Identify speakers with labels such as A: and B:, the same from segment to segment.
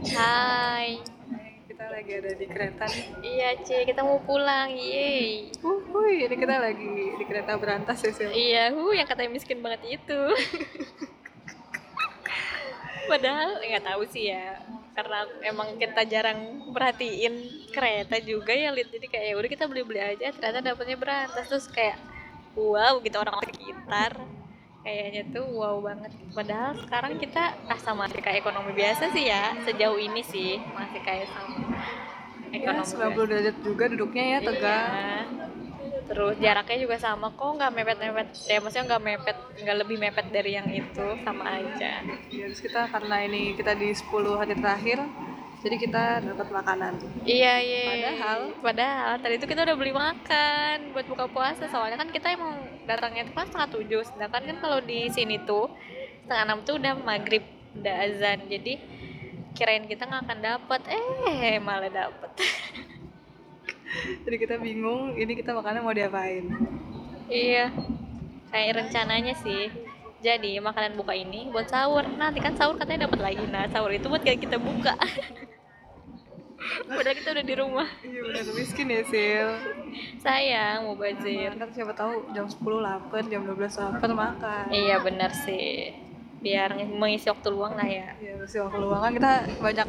A: Hai.
B: Kita lagi ada di kereta nih.
A: Iya, Ci, kita mau pulang. Yeay.
B: Wuhui, ini kita lagi di kereta berantas ya, Sil.
A: Iya, hu yang katanya miskin banget itu. Padahal nggak tahu sih ya. Karena emang kita jarang perhatiin kereta juga ya, Lid. Jadi kayak ya udah kita beli-beli aja, ternyata dapetnya berantas terus kayak wow gitu orang sekitar. Kayaknya tuh wow banget. Padahal sekarang kita rasa masih kayak ekonomi biasa sih ya. Sejauh ini sih masih kayak sama
B: Ya,
A: ekonomi. biasa.
B: 90 derajat juga duduknya ya, tegak.
A: Iya. Terus jaraknya juga sama kok nggak mepet-mepet. Ya maksudnya nggak mepet, nggak lebih mepet dari yang itu sama aja.
B: Ya, terus kita karena ini kita di 10 hari terakhir, jadi kita dapat makanan.
A: Iya iya.
B: Padahal-
A: padahal tadi itu kita udah beli makan buat buka puasa. Soalnya kan kita emang datangnya itu kan setengah tujuh. Sedangkan kan kalau di sini tuh setengah enam tuh udah maghrib, udah azan. Jadi kirain kita nggak akan dapat. Eh malah dapat.
B: Jadi kita bingung, ini kita makannya mau diapain.
A: Iya. Kayak rencananya sih. Jadi makanan buka ini buat sahur. Nanti kan sahur katanya dapat lagi. Nah, sahur itu buat kayak kita buka. Padahal kita udah di rumah.
B: Iya, benar miskin ya, Sil.
A: Sayang mau bazir.
B: Kan siapa tahu jam 10 lapar, jam 12 lapar makan.
A: Iya benar sih. Biar mengisi waktu luang lah ya.
B: Ya, terus waktu luang kan kita banyak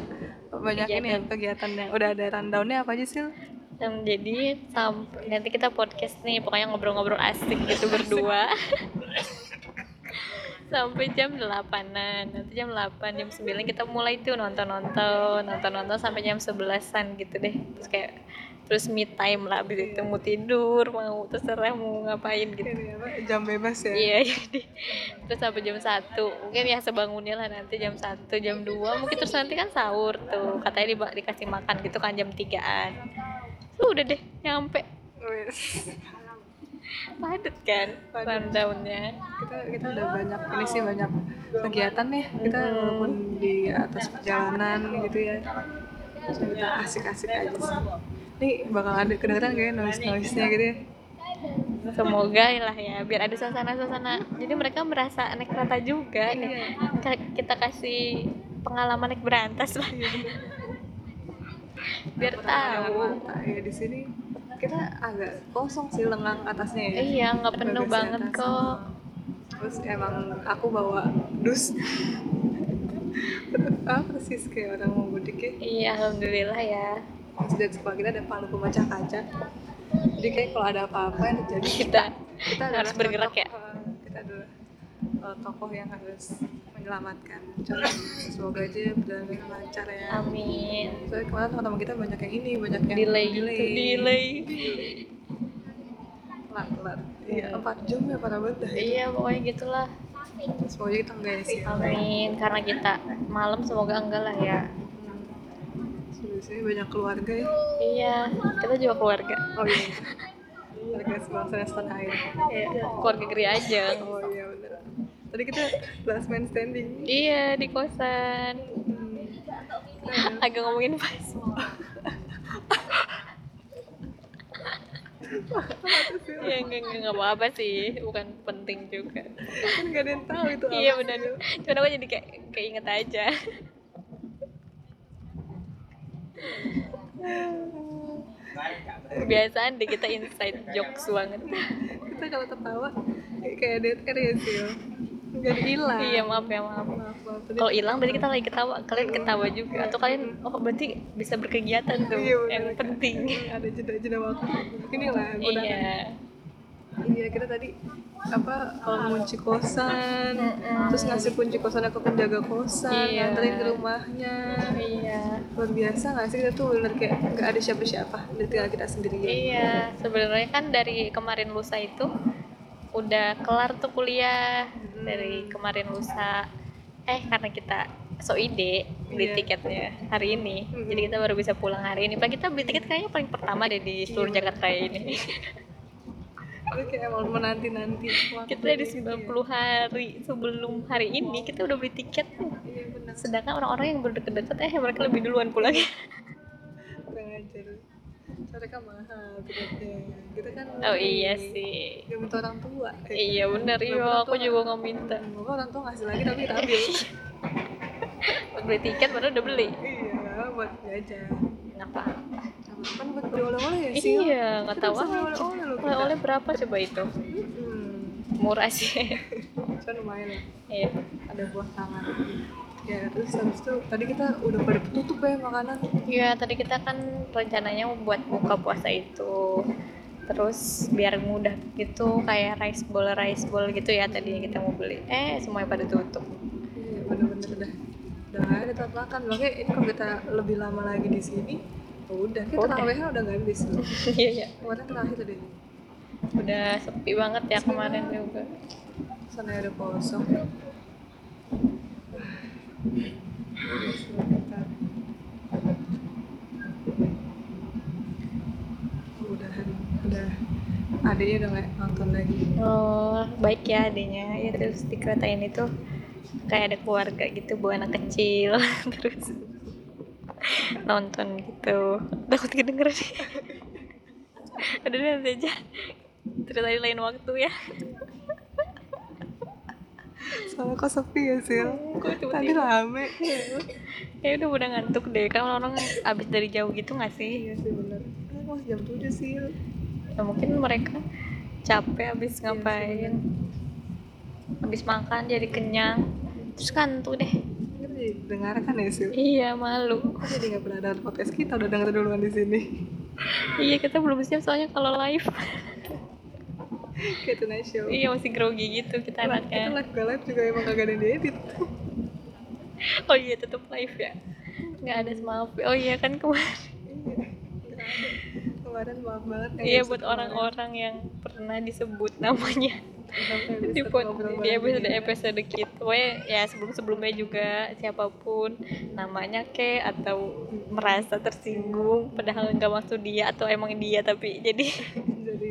B: banyak ini ya, kegiatan yang udah ada rundownnya apa aja, Sil?
A: Dan jadi sam- nanti kita podcast nih, pokoknya ngobrol-ngobrol asik gitu berdua. Sampai jam 8-an. Nanti jam 8, jam 9 kita mulai tuh nonton-nonton, nonton-nonton sampai jam 11-an gitu deh. Terus kayak terus me time lah abis itu mau tidur, mau terserah mau ngapain gitu.
B: Ini apa, Jam bebas ya.
A: Iya, jadi terus sampai jam 1. Mungkin ya sebangunnya lah nanti jam 1, jam 2 mungkin terus nanti kan sahur tuh. Katanya diba- dikasih makan gitu kan jam 3-an. Lu udah deh nyampe
B: Oh, Wes.
A: padet kan
B: Padet.
A: rundownnya.
B: kita kita udah banyak ini sih banyak kegiatan ya kita walaupun di atas perjalanan gitu ya terus kita asik-asik aja sih ini bakal ada kedengeran kayak noise noise nya gitu ya
A: Semoga lah ya biar ada suasana-suasana. Jadi mereka merasa naik kereta juga nih. Ka- Kita kasih pengalaman naik berantas lah. biar tahu.
B: Mata, ya di sini kita agak kosong sih lengang atasnya ya
A: Iya, nggak penuh
B: Bagasi
A: banget
B: atas.
A: kok.
B: terus emang aku bawa dus ah persis kayak orang mau mudik ya
A: Iya, alhamdulillah ya.
B: terus dari sekolah kita ada palu pemecah kaca jadi kayak kalau ada apa-apa yang terjadi
A: Kita
B: kita
A: Harus
B: adalah
A: bergerak
B: tokoh,
A: ya?
B: eh, kita adalah eh, tokoh yang harus menyelamatkan Contoh, semoga aja berjalan lancar ya
A: Amin.
B: soalnya kemarin teman-teman kita banyak yang ini banyak yang
A: Delay,
B: delay,
A: gitu. Delay.
B: telat telat iya empat jam ya pada betah
A: Iya, pokoknya gitulah.
B: semoga aja kita enggak sih
A: Amin. Karena kita malam semoga enggak lah ya.
B: Hmm. biasanya banyak keluarga ya
A: Iya, kita juga keluarga.
B: oh iya keluarga sebangsa dan setanah air
A: Iya, keluarga Gri aja.
B: oh iya bener tadi kita last man standing
A: Iya, di kosan.
B: Hmm.
A: Agak ngomongin pas. Ya enggak enggak enggak apa-apa sih, bukan penting juga.
B: kan gak ada yang tahu itu apa.
A: Iya benar. Cuman aku jadi kayak keinget aja. Kebiasaan deh kita inside jokes banget.
B: kita kalau ketawa kayak dead air ya sih nggak hilang
A: Iya maaf ya maaf.
B: maaf maaf tadi
A: Kalau hilang berarti kita lagi ketawa, kalian ketawa juga atau kalian oh berarti bisa berkegiatan tuh
B: Iya, benar.
A: yang penting.
B: ada jeda-jeda waktu inilah gunakan
A: Iya.
B: iya kita tadi apa kalau kunci kosan terus ngasih kunci kosan ke penjaga kosan
A: Iya.
B: nganterin ke rumahnya
A: Iya.
B: luar biasa nggak sih kita tuh bener kayak nggak ada siapa-siapa udah tinggal kita sendirian
A: Iya, sebenarnya kan dari kemarin lusa itu udah kelar tuh kuliah dari kemarin lusa. Eh karena kita so ide beli
B: Iya.
A: tiketnya hari ini, jadi kita baru bisa pulang hari ini. Padahal kita beli tiket kayaknya paling pertama deh di seluruh Jakarta ini.
B: Itu kayak mau menanti-nanti
A: kita dari 90 hari sebelum hari ini kita udah beli tiket.
B: iya benar
A: Sedangkan orang-orang yang berdeket-deket eh mereka lebih duluan pulang.
B: kurang ajar mereka mahal tiketnya kita kan
A: oh iya sih.
B: Gak minta orang tua. Eh,
A: Iya bener, iya aku juga nggak minta.
B: Semoga orang tua ngasih lagi tapi kita ambil.
A: Beli tiket baru udah beli.
B: iya. oleh-oleh buat jajan
A: kenapa
B: Nah, kan buat beli oleh-oleh ya sih
A: iya nggak
B: Kita
A: tahu
B: bisa
A: ah.
B: beli oleh-oleh loh kita.
A: oleh-oleh berapa coba itu
B: hmm,
A: murah sih
B: so lumayan lah
A: iya
B: ada buah tangan ya terus habis itu tadi kita udah pada tutup ya makanan
A: Iya, tadi kita kan rencananya mau buat buka puasa itu. Terus biar mudah gitu kayak rice bowl rice bowl gitu ya tadinya kita mau beli. Eh, semuanya pada tutup.
B: Iya, bener-bener udah udah nggak ada tempat makan makanya ini kalau kita lebih lama lagi di sini ya udah kita
A: Udah.
B: terawih udah nggak habis loh
A: Iya, iya.
B: kemarin terakhir tuh deh
A: Udah sepi banget ya kemarin juga.
B: sana ada kosong udah udah adanya udah nggak nonton lagi
A: Oh, baik ya adanya. Ya terus di kereta ini tuh kayak ada keluarga gitu buat anak kecil terus nonton gitu takut kedengeran udah deh, nanti aja ceritain lain waktu ya
B: soalnya kok sepi ya Sil
A: Oh, Kok tiba-tiba?
B: tadi rame Iya,
A: Ya udah udah ngantuk deh kan orang abis dari jauh gitu nggak sih?
B: iya sih bener ini masih jam tujuh Sil
A: Ya mungkin mereka capek abis
B: Iya sih,
A: ngapain, abis makan jadi kenyang, terus kantuk deh.
B: kita Kan jadi dengarkan ya Sil
A: Iya malu.
B: Kok jadi nggak pernah ada podcast kita udah denger duluan di sini
A: Iya kita belum siap soalnya kalau live,
B: kayak Tonight Show
A: iya ya. masih grogi gitu kita
B: Lah, itu
A: anaknya.
B: live gak live juga emang kagak ada yang diedit
A: Oh iya tetap live ya, nggak ada maaf. Oh iya kan kemarin.
B: kemarin maaf banget yang
A: Iya
B: episode
A: buat
B: kemarin.
A: orang-orang yang pernah disebut namanya
B: Sampai
A: di
B: episode
A: pod
B: ngobrol
A: di
B: bareng ya.
A: episode
B: gini.
A: episode kita pokoknya ya sebelum sebelumnya juga siapapun namanya ke atau merasa tersinggung padahal nggak maksud dia atau emang dia tapi jadi
B: gitu, jadi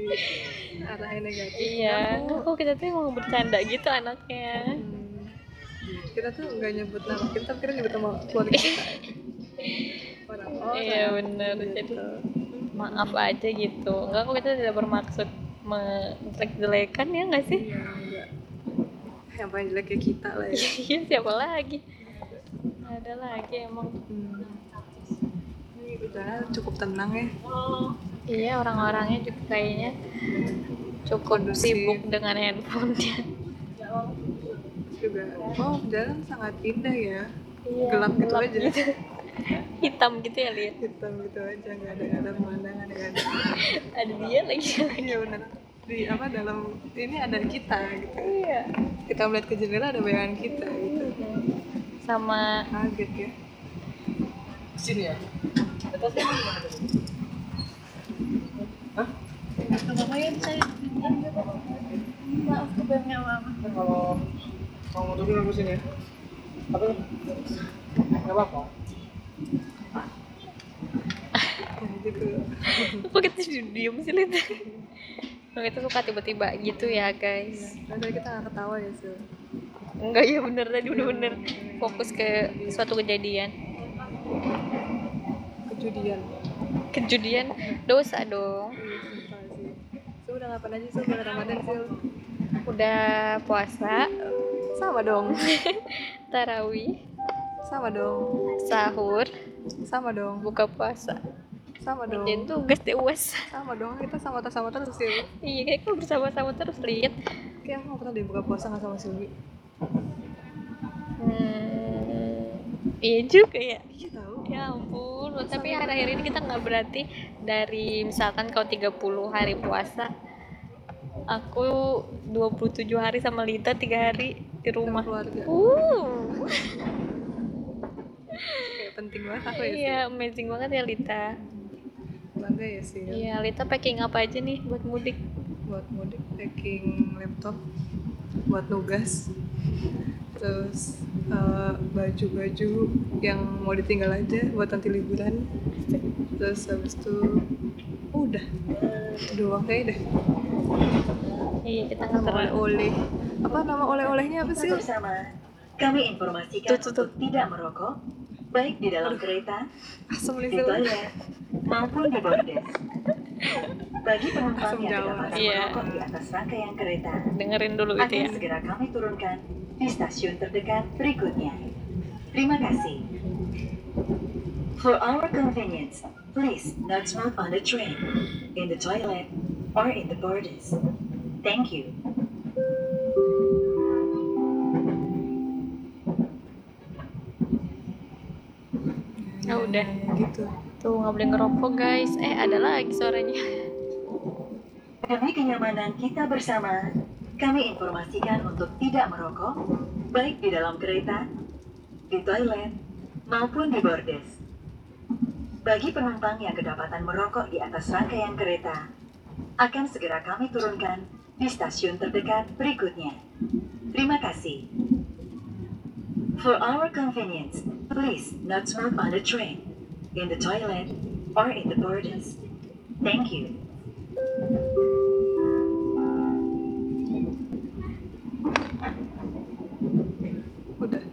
B: arahnya negatif Ya
A: iya
B: Kamu-
A: kok kita tuh mau bercanda gitu anaknya
B: Hmm. kita tuh nggak nyebut nama kita tapi kita nyebut nama keluarga kita Orang-orang.
A: Iya, bener.
B: Oh, Gitu.
A: maaf aja gitu nggak kok kita tidak bermaksud menjelek-jelekan ya nggak sih
B: Iya, enggak. yang paling jelek ya kita lah ya
A: iya siapa lagi Nggak ada lagi emang
B: Hmm. ini udah cukup tenang ya
A: iya orang-orangnya juga kayaknya cukup
B: Kondusif.
A: sibuk dengan handphonenya
B: Terus juga wow jalan sangat indah ya
A: Iya,
B: gelap gitu aja
A: hitam gitu ya lihat
B: hitam gitu aja nggak ada nggak ada pemandangan nggak ada
A: ada dia lagi
B: iya benar di apa dalam ini ada kita gitu
A: iya
B: kita melihat ke jendela ada bayangan kita gitu
A: sama
B: kaget ya sini ya atasnya Hah? Kalau mau nguturin aku sini ya. Apa? Gak apa-apa. gitu.
A: apa kita diem sih lihat Emang itu suka tiba-tiba gitu ya guys
B: Kan Tadi kita nggak ketawa ya sih.
A: Enggak ya bener tadi bener-bener fokus ke suatu kejadian
B: Kejadian.
A: Kejadian dosa dong
B: Iya, Sil udah ngapain aja sih bulan Ramadan sih?
A: Udah puasa,
B: Sama dong.
A: tarawih,
B: Sama dong.
A: sahur,
B: Sama dong.
A: buka puasa
B: Sama dong.
A: Dan tugas deh uas
B: Sama dong. Kita sama terus sama terus sih.
A: Iya kayak kan bersama-sama terus lihat
B: Kayak aku pernah deh buka puasa nggak sama Silvi.
A: Hmm, iya juga ya.
B: Iya tahu.
A: Ya ampun, tapi akhir-akhir ini kita nggak berarti dari misalkan kau 30 hari puasa, aku 27 hari sama Lita tiga hari di rumah.
B: keluarga.
A: Uh,
B: Kayak penting banget aku ya sih.
A: iya amazing banget ya Lita.
B: Bangga ya sih.
A: Iya Lita packing apa aja nih buat mudik?
B: Buat mudik packing laptop, buat tugas, terus eh, baju-baju yang mau ditinggal aja buat nanti liburan. Terus habis itu udah doang kayaknya deh.
A: Iya kita nggak
B: Sama
A: terlalu.
B: oleh-oleh. Apa nama oleh-olehnya apa sih?
C: bersama, kami informasikan
A: Tuh, tuh, tuh.
C: untuk tidak merokok, baik di dalam kereta,
B: Asam nih
C: di
B: Sil.
C: toilet, maupun di bordes. Bagi
B: Langsung
C: penumpang yang
B: jawab.
C: kedapatan
A: Iya.
C: merokok di atas rangkaian kereta,
A: Dengerin dulu itu
C: akan
A: ya.
C: segera kami turunkan di stasiun terdekat berikutnya. Terima kasih. For our convenience, please not smoke on the train, in the toilet, or in the borders. Thank you.
A: Ya udah.
B: gitu
A: Tuh nggak boleh ngerokok guys. Eh ada lagi suaranya.
C: Demi kenyamanan kita bersama, kami informasikan untuk tidak merokok, baik di dalam kereta, di toilet, maupun di bordes. Bagi penumpang yang kedapatan merokok di atas rangkaian kereta, akan segera kami turunkan di stasiun terdekat berikutnya. Terima kasih. For our convenience, please not smoke on the train, in the toilet, or in the borders. Thank you.
B: udah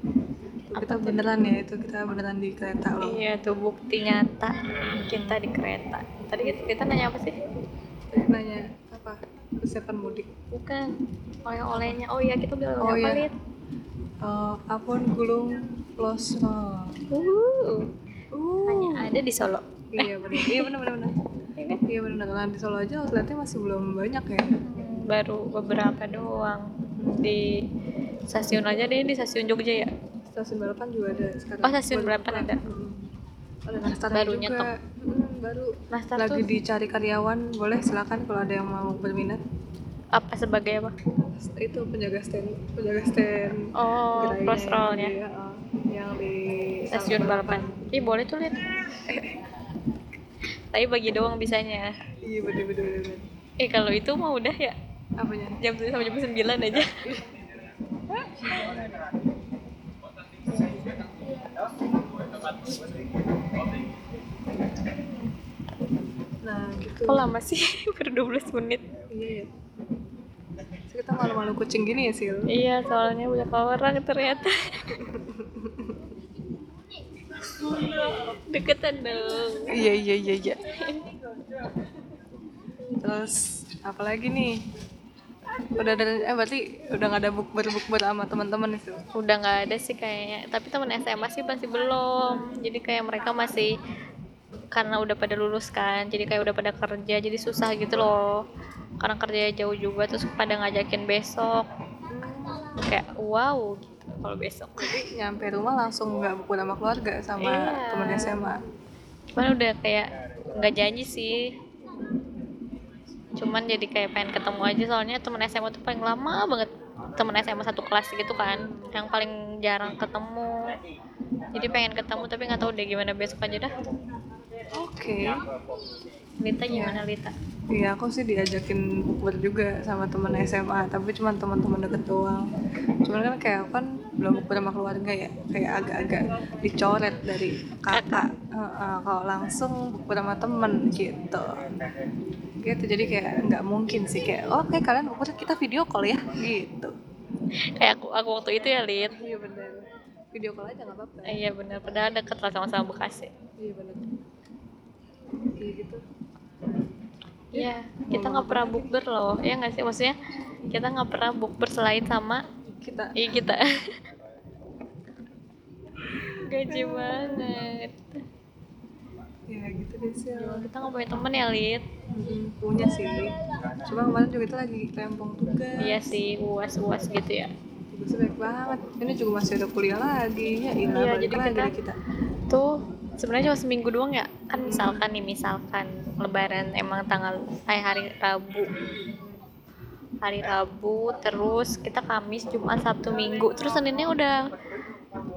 B: Tuh, kita beneran ya itu kita beneran di kereta loh
A: Iya tuh bukti nyata kita di kereta. Tadi kita, kita nanya apa sih?
B: nanya apa persiapan mudik
A: Bukan oleh-olehnya. Oh iya kita bilang
B: Oh,
A: oleh apa
B: iya.
A: Lid?
B: Eh, Apun gulung losno
A: Uh,
B: Uh,
A: hanya ada di Solo.
B: iya benar iya benar benar benar.
A: Ya kan?
B: iya benar benar. di Solo aja outletnya masih belum banyak ya
A: Hmm, Baru beberapa doang di stasiun aja deh di stasiun Jogja ya.
B: stasiun balapan juga ada sekarang
A: Oh, stasiun
B: Baru
A: Balapan
B: buka.
A: ada. Nah,
B: Mm. ada nastar
A: Baru
B: juga
A: nyetok.
B: Mm, baru
A: Nastar
B: lagi
A: tuh
B: dicari karyawan boleh silakan kalau ada yang mau berminat
A: apa sebagai apa?
B: itu penjaga stand penjaga stand
A: Oh,
B: gerainya
A: cross
B: yang
A: roll-nya.
B: di, uh, yang di
A: Stasiun Balapan. Ih, boleh tuh, Lid. Tapi bagi doang bisanya.
B: iya bener bener bener, bener
A: Eh, kalau itu mah udah ya.
B: apanya
A: Jam 7 sampai jam 9 aja.
B: nah gitu
A: Kok lama sih? Baru 12 menit.
B: iya ya Terus kita malu-malu kucing gini ya sil
A: Iya, soalnya banyak orang ternyata. Deketan dong.
B: iya iya iya iya terus apalagi nih udah ada eh berarti udah nggak ada bukber bukber sama teman-teman itu
A: Udah nggak ada sih kayaknya. Tapi teman SMA sih masih belum. Jadi kayak mereka masih karena udah pada lulus kan jadi kayak udah pada kerja jadi susah gitu loh karena kerja jauh juga terus pada ngajakin besok kayak wow gitu kalau besok
B: jadi nyampe rumah langsung nggak bukber sama keluarga sama
A: Iya.
B: teman SMA
A: cuman udah kayak nggak janji sih cuman jadi kayak pengen ketemu aja soalnya temen SMA tuh paling lama banget temen SMA satu kelas gitu kan yang paling jarang ketemu jadi pengen ketemu tapi nggak tahu deh gimana besok aja dah
B: oke
A: Lita gimana Lita
B: Iya, aku sih diajakin bukber juga sama temen SMA, tapi cuma teman-teman deket doang. Cuman kan kayak aku kan belum bukber sama keluarga ya, kayak agak-agak dicoret dari kakak. Heeh, kalau langsung bukber sama temen gitu. Gitu, jadi kayak nggak mungkin sih kayak, oke kalian bukber kita video call ya, gitu.
A: kayak aku aku waktu itu ya Lit
B: Iya bener, video call aja nggak apa-apa.
A: Eh, iya bener padahal deket lah sama-sama Bekasi
B: Iya bener. Iya gitu.
A: iya kita nggak pernah bukber loh ya nggak sih maksudnya kita nggak pernah bukber selain sama
B: Kita
A: Iya kita Gaji banget
B: ya gitu deh sih.
A: Kita nggak punya temen ya Lid
B: Mm, punya sih cuma kemarin juga itu lagi rempong tugas
A: Iya sih uas-uas gitu ya
B: tugasnya baik banget ini juga masih ada kuliah lagi ya
A: Iya,
B: iya balik
A: jadi
B: lagi
A: kita-
B: deh kita
A: Tuh sebenarnya cuma seminggu doang ya Kan misalkan nih misalkan Lebaran emang tanggal eh, hari Rabu Hari Rabu terus kita Kamis, Jumat, Sabtu, Minggu Terus Seninnya udah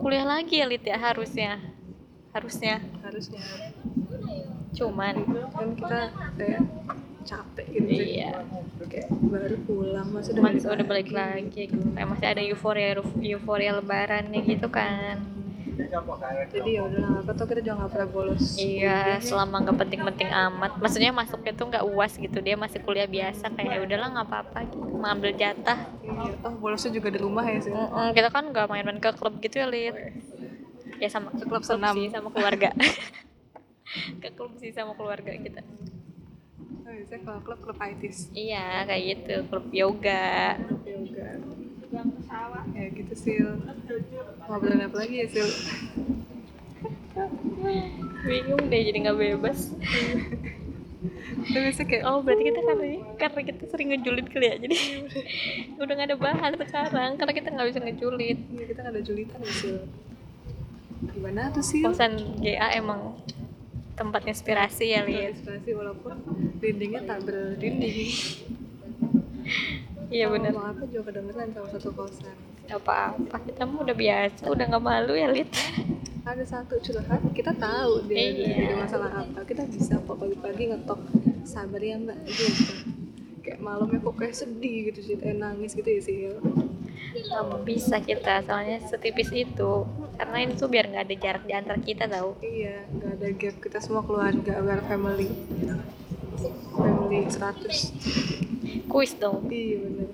A: kuliah lagi ya Lid ya harusnya Harusnya
B: harusnya
A: Cuman
B: kan kita kayak capek gitu sih.
A: Iya
B: kayak baru pulang masih udah
A: Mas udah balik lagi gitu. Kayak masih ada euforia euforia lebaran nih gitu kan
B: jadi ya udah nggak apa tau kita juga nggak pernah bolos
A: iya selama nggak penting-penting amat maksudnya masuknya tuh nggak uas gitu dia masih kuliah biasa kayak ya udahlah nggak apa-apa gitu. mengambil jatah
B: Iya. oh bolosnya juga di rumah ya sih
A: Mm-mm, kita kan nggak main-main ke klub gitu ya Lid ya sama
B: Ke klub senam.
A: sih sama keluarga ke klub sih sama keluarga kita
B: oh, biasanya kalau klub klub itis
A: iya kayak gitu klub yoga
B: klub yoga ya gitu sih ngobrolin apa lagi ya sil
A: bingung deh jadi nggak bebas
B: Tapi biasanya kayak
A: oh berarti kita karena karena kita sering ngejulit kali ya jadi udah nggak ada bahan sekarang karena kita nggak bisa ngejulit
B: ya, kita nggak ada julitan gitu. Gimana tuh sih?
A: kosan GA emang tempat inspirasi ya lihat
B: Inspirasi walaupun dindingnya tak berdinding.
A: iya bener
B: Ngomong apa juga kedengeran sama satu kosan.
A: apa apa kita mah udah biasa udah nggak malu ya Lit
B: Ada satu curhat, kita tahu dia
A: Iya.
B: ada masalah apa. Kita bisa kok pagi-pagi ngetok sabar ya mbak gitu. Kayak malamnya kok kayak sedih gitu sih, kayak nangis gitu ya sih.
A: Nggak bisa kita soalnya setipis itu karena ini tuh biar nggak ada jarak di antara kita tahu
B: Iya, nggak ada gap kita semua keluarga, we are family. Family 100.
A: kuis dong
B: Iya bener.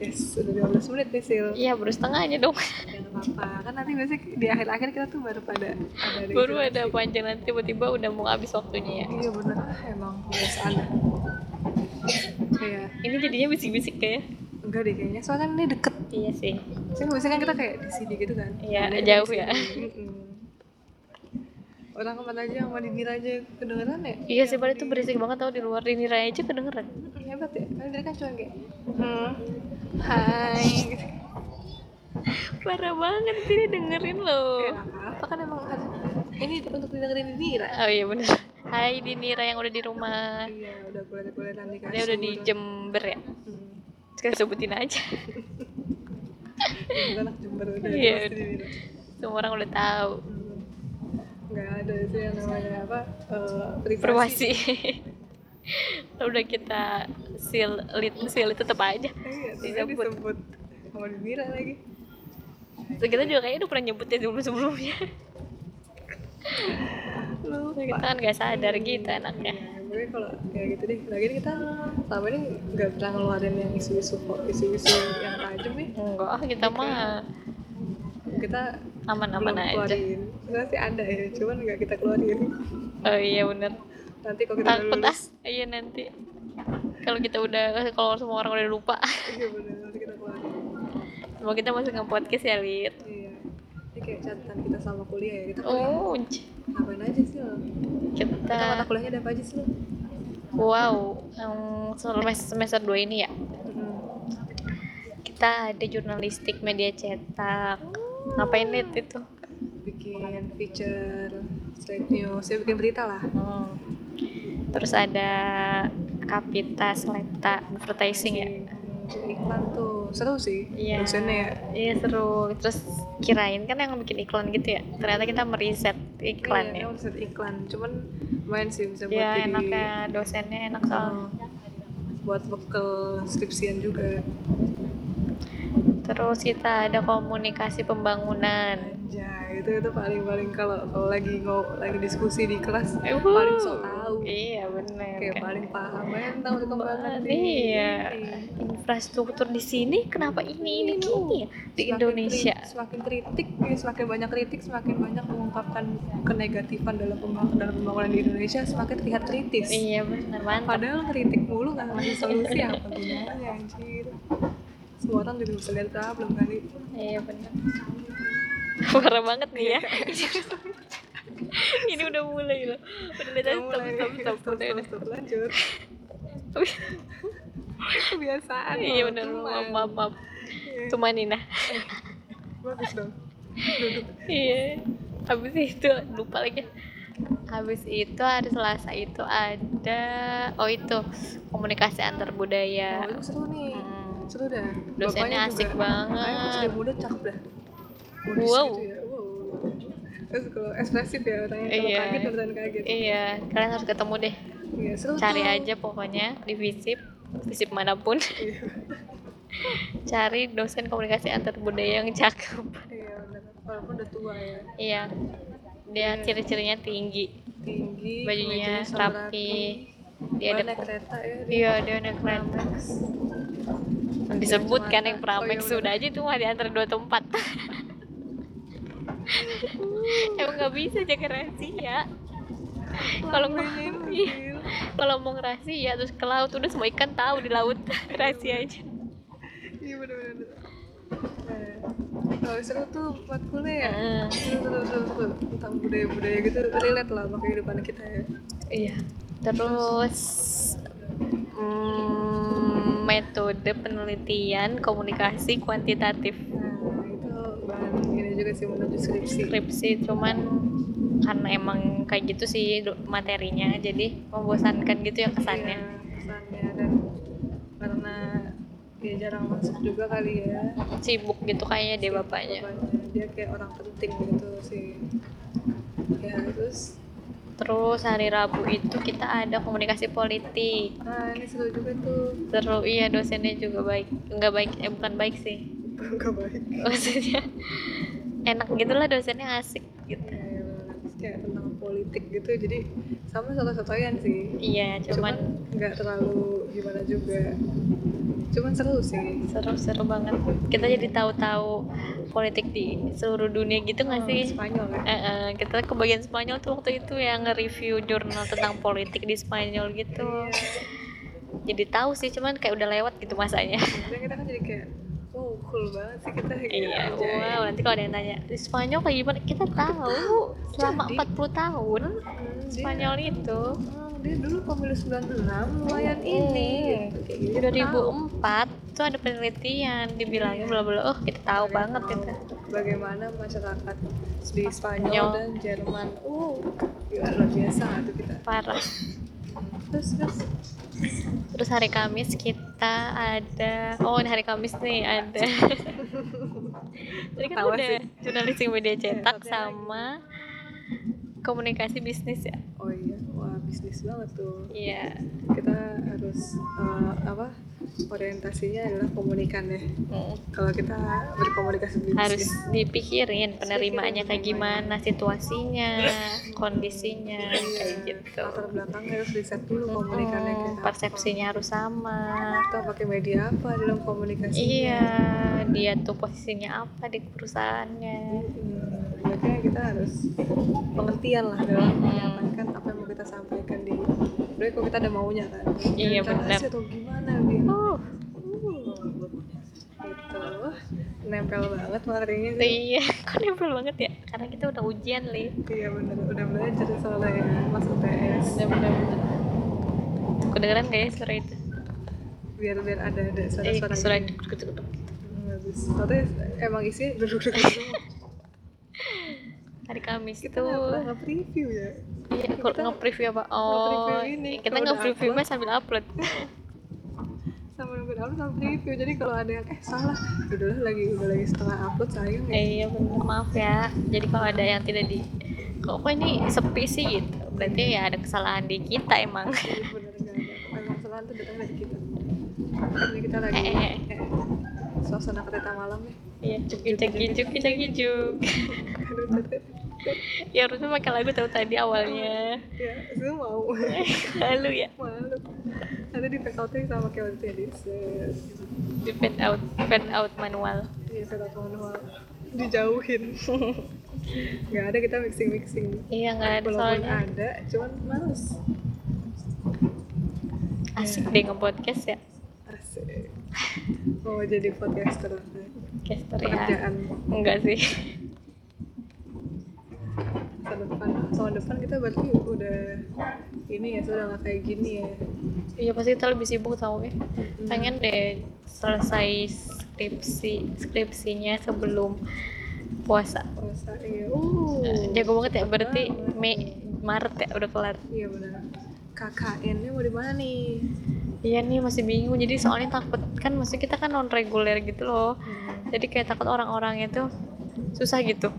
B: Yes, udah 15 menit nih Sil.
A: iya baru setengahnya dong
B: Gak apa-apa, kan nanti biasanya di akhir-akhir kita tuh baru pada ada
A: baru ada panjang nanti tiba-tiba udah mau habis waktunya ya
B: Iya bener, ah, emang harus ada Iya,
A: ini jadinya bisik-bisik kayak ya?
B: enggak deh kayaknya, soalnya kan ini deket
A: iya sih
B: Saya biasanya kan kita kayak di sini gitu kan
A: Iya,
B: Ada yang
A: jauh
B: di
A: ya.
B: sini. Mm-mm. Orang kemana aja sama Dinir aja kedengeran ya
A: iya sih padahal itu berisik banget tau di luar ini raya aja kedengeran
B: Mm, Hebat ya, kan dia kan cuma kayak hmm, Hai gitu.
A: parah banget sih dengerin loh
B: Ya, apa kan emang harus ini untuk didengerin Dinir
A: oh iya bener Hai Dinira yang udah di rumah
B: Iya, udah kuliah-kuliah di kasur
A: dia udah di Jember ya
B: Mm.
A: sekarang sebutin aja
B: Bukan anak Jember udah
A: Iya.
B: pasti Dinir.
A: semua orang udah tahu
B: Hmm. nggak ada itu yang namanya apa eh, privasi
A: privasi udah kita seal lit seal tetap aja
B: iya
A: Disebut.
B: tapi disebut sama Dinira lagi
A: Terus kita juga kayaknya udah pernah nyebutnya sebelum sebelumnya
B: lu
A: kita kan gak sadar gitu anaknya
B: gue Iya, kalau kayak gitu deh lagi nih kita selama ini nggak pernah ngeluarin yang isu-isu kok isu-isu yang tajam nih
A: enggak ah, kita mah
B: kita
A: aman-aman
B: belum
A: aja
B: keluarin sebenarnya sih ada ya cuman nggak kita keluarin
A: oh iya bener
B: nanti kalau kita udah
A: takut ah
B: lulus
A: iya nanti kalau kita udah kalau semua orang udah lupa
B: iya bener nanti kita keluarin
A: mau kita masuk ke podcast ya Lid
B: iya ini kayak catatan kita selama kuliah ya kita kuliah
A: oh c-
B: ngapain aja sih lo kita mata
A: kita
B: kuliahnya ada apa aja sih lo
A: wow em, selama semester 2 ini ya
B: Hmm.
A: kita ada jurnalistik media cetak ngapain Lid itu
B: bikin feature slide news ya bikin berita lah
A: Hmm. Terus ada Kapita Selekta Advertising ya.
B: Bikin iklan tuh seru sih
A: Iya.
B: dosennya ya
A: Iya seru. Terus kirain kan yang bikin iklan gitu ya. Ternyata kita meriset iklan
B: iya,
A: ya.
B: kan riset iklan cuman main sih bisa
A: Ya
B: buat jadi Oh. uh,
A: enaknya dosennya enak soalnya.
B: buat bekal skripsian juga
A: Terus kita ada komunikasi pembangunan.
B: ya itu itu paling paling kalau kalau lagi ngo lagi diskusi di kelas
A: Uhuh.
B: paling so tau
A: Iya benar.
B: kayak paling paham kan tahu perkembangan di
A: Iya. Infrastruktur di sini kenapa ini ini
B: Iya.
A: ini ya? di
B: Semakin
A: Indonesia?
B: kri- semakin kritik ya, semakin banyak kritik semakin banyak mengungkapkan kenegatifan dalam pembangunan dalam pembangunan di Indonesia semakin terlihat kritis
A: Iya benar mantap.
B: padahal kritik mulu nggak ngasih solusi apa gunanya anjir semua orang juga bisa lihat problem kali
A: Iya benar. Parah banget nih ya.
B: Iya.
A: Ini udah mulai loh. Udah lihat aja, stop
B: Mulai,
A: stop stop
B: stop,
A: udah udah.
B: stop, lanjut kebiasaan
A: Iya
B: loh,
A: benar. Maaf
B: teman.
A: maaf nah. maaf.
B: Iya,
A: Cuma Nina.
B: bagus dong
A: Iya. Habis itu lupa lagi. Habis itu hari Selasa itu ada oh itu komunikasi antar
B: oh,
A: budaya.
B: itu seru nih
A: Hmm.
B: seru dah
A: Iya. Dosennya
B: Bapaknya
A: asik
B: juga. Makanya pas
A: banget.
B: dia muda cakep dah Modis
A: Wow.
B: gitu ya. wow terus kalau ekspresif ya orangnya kalau
A: Iya.
B: kaget beneran kaget
A: Iya, kalian harus ketemu deh.
B: Iya, seru
A: Cari
B: tuh.
A: aja pokoknya di Visip, Visip manapun.
B: Iya.
A: Cari dosen komunikasi antar budaya yang cakep.
B: iya bener walaupun udah tua ya
A: Iya. Dia ciri-cirinya tinggi.
B: tinggi
A: Bajunya
B: kemejanya sama
A: rapi. Dia
B: dia
A: ada
B: naik kereta ya dia
A: Iya, dia naik kereta. Disebut kan yang Pramex sudah aja itu mah diantar dua tempat. Emang nggak bisa jaga rahasia. Kalau mau iya. kalau mau rahasia terus ke laut udah semua ikan tahu di laut rahasia aja.
B: iya bener bener Nah, kalau seru tuh matkulnya ya
A: Heeh.
B: seru seru seru seru tentang budaya budaya gitu relate lah sama kehidupan kita ya
A: Iya. Terus mm, metode penelitian komunikasi kuantitatif
B: nah itu bahan ini juga sih menuju skripsi
A: skripsi cuman karena emang kayak gitu sih do- materinya jadi membosankan gitu ya
B: Iya,
A: kesannya
B: kesannya dan karena dia jarang masuk juga kali ya
A: sibuk gitu kayaknya dia bapaknya
B: Bapaknya. dia kayak orang penting gitu sih ya terus
A: terus hari Rabu itu kita ada komunikasi politik
B: ah ini seru juga tuh
A: terus iya dosennya juga baik nggak baik eh bukan baik sih
B: gak baik
A: maksudnya enak gitulah dosennya asik gitu
B: Ya, ya, bener. Terus kayak tentang politik gitu jadi sama satu-satuan sih
A: iya
B: cuman
A: cuman
B: nggak terlalu gimana juga cuman seru sih
A: seru-seru banget kita jadi tahu-tahu politik di seluruh dunia gitu nggak sih
B: Spanyol kan
A: Eh, eh, kita ke bagian Spanyol tuh waktu itu yang nge-review jurnal tentang politik di Spanyol gitu
B: Iya.
A: jadi tahu sih cuman kayak udah lewat gitu masanya
B: dan kita kan jadi kayak wow cool banget sih kita gitu
A: iya
B: aja.
A: wow nanti kalau ada yang tanya di Spanyol kayak gimana kita tahu selama
B: Jadi.
A: 40 tahun
B: Hmm, dia-
A: Spanyol itu Iya.
B: oh, dia dulu pemilu 96 lumayan
A: Oh,
B: ini gitu kayak gitu Dia tahu
A: 2004 tuh ada penelitian dibilangin bla bla oh kita tahu
B: Iya,
A: banget kita
B: bagaimana masyarakat di Spanyol
A: Spanyol.
B: dan Jerman uh gila, luar biasa tuh kita
A: parah
B: terus terus
A: terus hari Kamis kita ada oh ini hari Kamis nih ada tadi kan
B: Ketawa
A: udah
B: sih.
A: jurnalistik media cetak
B: satunya lagi.
A: sama komunikasi bisnis ya
B: oh iya wah bisnis banget tuh
A: iya
B: kita harus eh, apa orientasinya adalah komunikan ya
A: Mm.
B: kalau kita berkomunikasi di
A: harus
B: bisnis
A: dipikirin penerimaannya kayak
B: penerimaannya.
A: gimana situasinya kondisinya kayak
B: Iya,
A: gitu
B: latar belakang harus riset dulu komunikannya
A: Mm,
B: kita
A: persepsinya harus sama
B: kita pakai media apa dalam komunikasi
A: Iya, dia tuh posisinya apa di perusahaannya.
B: Hmm, makanya kita harus pengertian lah dalam
A: Mm.
B: menyampaikan apa yang mau kita sampaikan di Sebenarnya kalau kita ada maunya kan
A: Iya,
B: Kita
A: benar.
B: kasih atau gimana gitu
A: Oh,
B: gitu nempel banget materinya sih.
A: iya, kok nempel banget ya? Karena kita udah ujian, Li.
B: Iya bener, udah belajar soalnya mas UTS
A: Bener-bener. Kedengeran gak ya suara itu?
B: biar biar ada ada
A: Eh,
B: suara-suara
A: suara
B: gitu.
A: duduk duduk duduk.
B: Hmm, habis soalnya emang isinya duduk-duduk semua.
A: Hari Kamis
B: kita
A: tuh
B: nggak pernah nge-preview ya
A: Iya, kok
B: kita
A: nge-preview apa?
B: nge-preview
A: Oh,
B: ini,
A: kita
B: kalau udah
A: nge-preview
B: upload.
A: mas sambil upload.
B: sama nunggu upload sama preview jadi kalau ada yang eh salah udah lagi udah lagi setelah upload sayang ya
A: Eh, iya bener, maaf ya. Jadi kalau ada yang tidak di kok kok ini sepi sih gitu. Berarti ya ada kesalahan di kita emang.
B: Jadi bener nggak ada memang kesalahan tuh datang dari kita ini kita lagi
A: Eh, eh,
B: eh, suasana kereta malam ya
A: Iya, cuki cuki cuki cuki cuki.
B: aduh cetet
A: ya harusnya pakai lagu tahu tadi awalnya
B: ya itu mau
A: lalu ya
B: malu ada di PKT sama kayak waktu itu ya
A: di fade out fade out manual
B: di di kereta manual dijauhin nggak ada kita mixing mixing
A: iya nggak ada
B: walaupun
A: soalnya
B: ada cuman males
A: asik deh nge-podcast ya
B: asik mau jadi podcaster
A: Iya. podcaster ya
B: pekerjaan
A: enggak sih
B: masa depan tahun depan kita berarti udah ini ya sudah nggak kayak gini ya
A: iya pasti kita lebih sibuk tau ya pengen deh selesai skripsi skripsinya sebelum puasa
B: puasa iya uh
A: jago banget ya berarti Mei Maret ya udah kelar
B: iya benar KKN nya mau di mana nih
A: iya nih masih bingung jadi soalnya takut kan maksudnya kita kan non reguler gitu loh
B: Hmm,
A: jadi kayak takut orang-orang itu susah gitu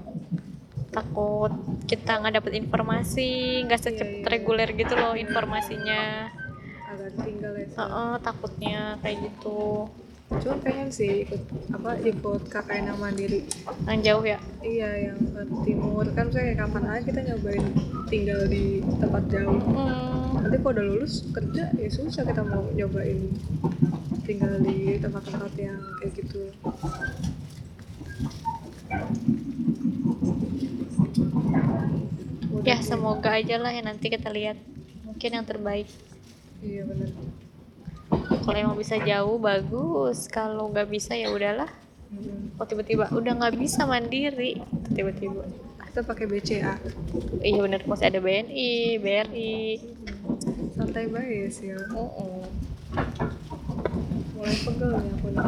A: takut kita nggak dapet informasi nggak
B: Iya,
A: secepat
B: iya.
A: reguler gitu loh informasinya
B: agak tinggal ya Sal.
A: Heeh, takutnya kayak gitu
B: cuman pengen sih ikut apa ikut KKN yang mandiri
A: yang jauh ya
B: iya yang ke timur kan saya kapan aja kita nyobain tinggal di tempat jauh
A: hmm,
B: nanti kalau udah lulus kerja ya susah kita mau nyobain tinggal di tempat-tempat yang kayak gitu
A: ya semoga aja lah ya nanti kita lihat mungkin yang terbaik
B: iya benar
A: kalau emang bisa jauh bagus kalau nggak bisa ya udahlah
B: Mm-hmm.
A: kok tiba-tiba udah nggak bisa mandiri tiba-tiba
B: kita pakai BCA
A: iya bener masih ada BNI BRI
B: santai banget ya sih ya.
A: Mm-mm.
B: mulai pegel ya aku nih.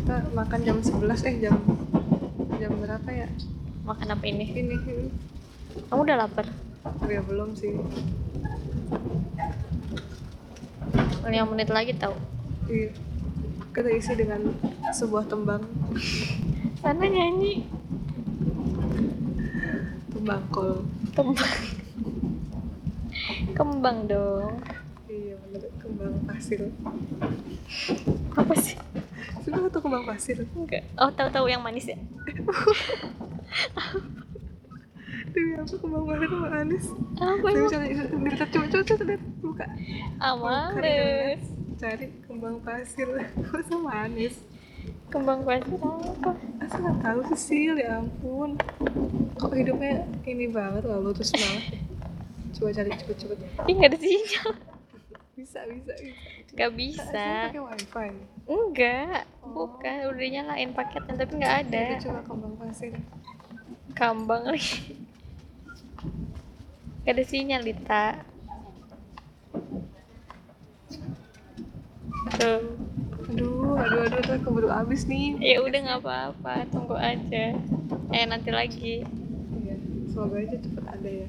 B: kita makan jam 11 eh jam jam berapa ya
A: makan apa ini
B: ini ini.
A: kamu udah lapar
B: oh ya belum sih
A: 5 menit lagi tau
B: iya kita isi dengan sebuah tembang
A: sana nyanyi
B: tembang kol
A: kembang kembang dong
B: iya bener kembang pasir
A: apa sih
B: sudah tuh kembang pasir
A: enggak oh tahu-tahu yang manis ya
B: demi apa kembang pasir sama Anis
A: apa
B: tapi
A: emang
B: cari dilihat coba coba coba lihat buka
A: amalis
B: ya. cari kembang pasir kok sama Anis
A: kembang pasir apa
B: Aku nggak tahu sih Sil, ya ampun. Kok hidupnya ini banget loh, terus banget. ya? Coba cari cepet-cepet.
A: Ih nggak ada sinyal
B: Bisa, bisa, bisa.
A: nggak
B: Bisa.
A: bisa
B: pakai wifi.
A: enggak bukan udah nyalain paketnya tapi nggak ada
B: Kita coba kembang pasir.
A: kambang lagi nggak ada sinyal Lita tuh
B: Aduh, aduh, aduh, tuh keburu habis nih.
A: ya udah nggak apa-apa tunggu aja eh nanti lagi
B: Iya, Semoga aja cepet ada ya.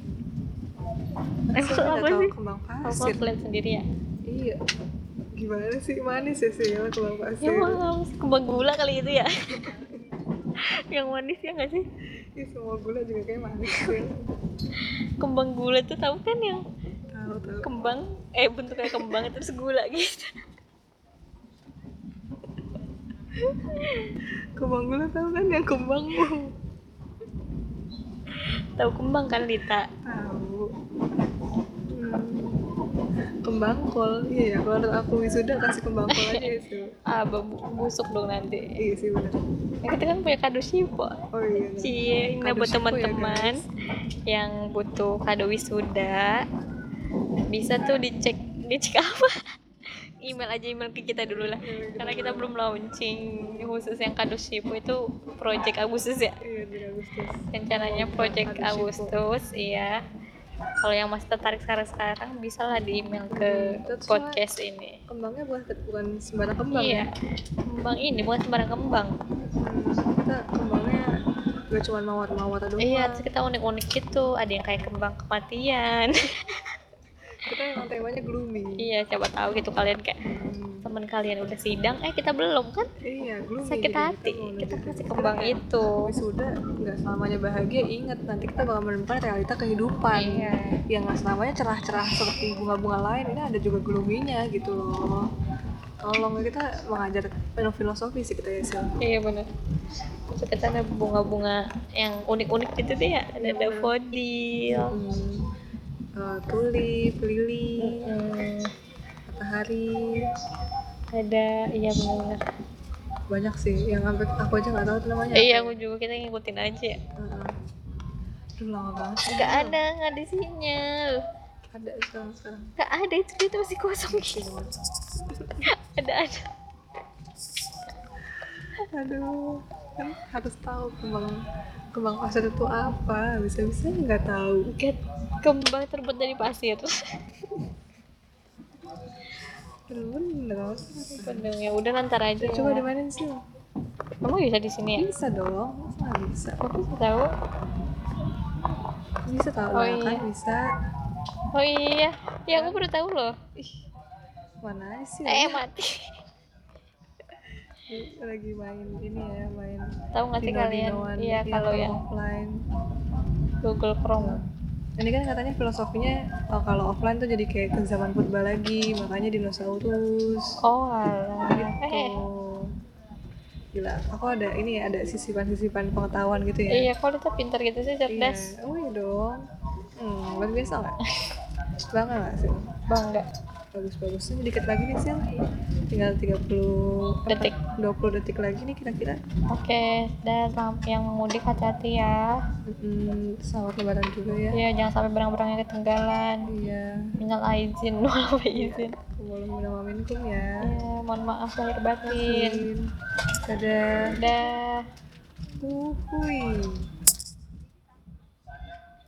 A: Emang Eh,
B: Soalnya
A: apa
B: nggak tahu
A: sih?
B: kembang
A: Apa
B: pasir.
A: kalian sendiri ya?
B: Iya. Gimana sih manis ya sih kembang
A: Ya
B: pasir?
A: maaf, kembang gula kali itu ya Yang manis ya nggak sih?
B: Ih, semua gula juga kayak manis ya. sih.
A: Kembang gula tuh tahu kan yang
B: Tahu tahu.
A: kembang Eh bentuknya kembang terus gula gitu
B: Kembang gula tahu kan yang kembang
A: Tahu kembang kan Lita?
B: tahu Hmm. kembang kol iya ya kalau menurut aku wisuda kasih kembang kol aja ya sih
A: Ah babu, busuk dong nanti
B: iya sih benar
A: Yang kita kan punya kado sipo
B: oh iya bener.
A: Cie, ini
B: Kado
A: buat
B: sipo ya,
A: teman-teman yang butuh kado wisuda bisa tuh dicek dicek apa? email aja email ke kita dulu lah karena kita belum launching khusus yang kado shipo itu project Agustus ya
B: iya di Agustus
A: rencananya project
B: Kado Shipo.
A: Agustus iya kalau yang masih tertarik sekarang sekarang bisa lah di email ke
B: Hmm, terus
A: podcast ini
B: kembangnya bukan bukan sembarang kembang
A: iya
B: ya
A: kembang ini bukan sembarang kembang
B: Hmm, kita kembangnya gak cuma mawar-mawar doang
A: iya terus kita unik-unik gitu ada yang kayak kembang kematian
B: kita emang temanya gloomy
A: iya siapa tahu gitu kalian kayak
B: Hmm,
A: teman kalian udah sidang eh kita belum kan
B: iya gloomy
A: sakit
B: jadi
A: hati
B: mau
A: kita
B: lanjutin.
A: kasih kembang
B: Kita kayak
A: itu
B: wisuda nggak selamanya bahagia ingat nanti kita bakal menemukan realita kehidupan
A: iya
B: yang nggak selamanya cerah-cerah seperti bunga-bunga lain ini ada juga gloominya gitu loh tolong kita mengajar penuh filosofi sih kita ya Sil.
A: Iya benar. Terus kita ada bunga-bunga yang unik-unik gitu deh ya. Ada
B: Iya, bener.
A: daffodil.
B: Hmm, eh, tulip, lili,
A: Hmm,
B: matahari,
A: ada iya benar.
B: banyak sih yang sampai aku aja nggak tahu tuh namanya.
A: Eh, iya aku juga kita ngikutin aja. ya.
B: Heeh. Aduh lama banget. sih.
A: Nggak ada nggak ada sinyal.
B: Ada sekarang sekarang.
A: Nggak ada itu kita masih kosong gitu. ada ada.
B: Aduh, kan harus tahu kembang kembang pasir itu apa. Bisa-bisa nggak tahu.
A: Get kembang terbuat dari pasir.
B: Bener-bener.
A: Bener ya udah lantar aja.
B: Coba dimainin sih.
A: Kamu bisa di sini ya.
B: Bisa dong, masa nggak bisa?
A: Aku sih tahu.
B: Bisa tau
A: Oh,
B: lah kan
A: iya.
B: bisa.
A: Oh iya, ya aku baru tahu loh.
B: Ih, mana sih?
A: Eh
B: ya?
A: mati.
B: Lagi main ini ya, main
A: Tahu nggak sih kalian?
B: dino-dinoan,
A: Iya kalau yang
B: offline.
A: Google Chrome.
B: Ini kan katanya filosofinya oh, kalau offline tuh jadi kayak ke zaman purba lagi, makanya dinosaurus.
A: Oh alah. Eh,
B: Tuh. Gila, aku ada ini ya, ada sisipan-sisipan pengetahuan gitu ya.
A: iya kok Lita pintar gitu sih cerdas.
B: Iya. Oh iya dong. Hmm, luar biasa nggak? Bangga nggak sih?
A: Bangga.
B: bagus-bagus ini dikit lagi nih Sil tinggal 30
A: Detik.
B: 20 detik lagi nih kira-kira
A: Oke, dan selam- yang mudik hati-hati ya.
B: hmm, selamat lebaran juga ya
A: Ya jangan sampai barang-barangnya ketinggalan.
B: iya
A: Minal aizin, mohon izin.
B: Sebelum minum aminkum ya
A: Ya, mohon maaf lahir Iya. batin.
B: Dadah
A: Dadah.
B: Uhuy.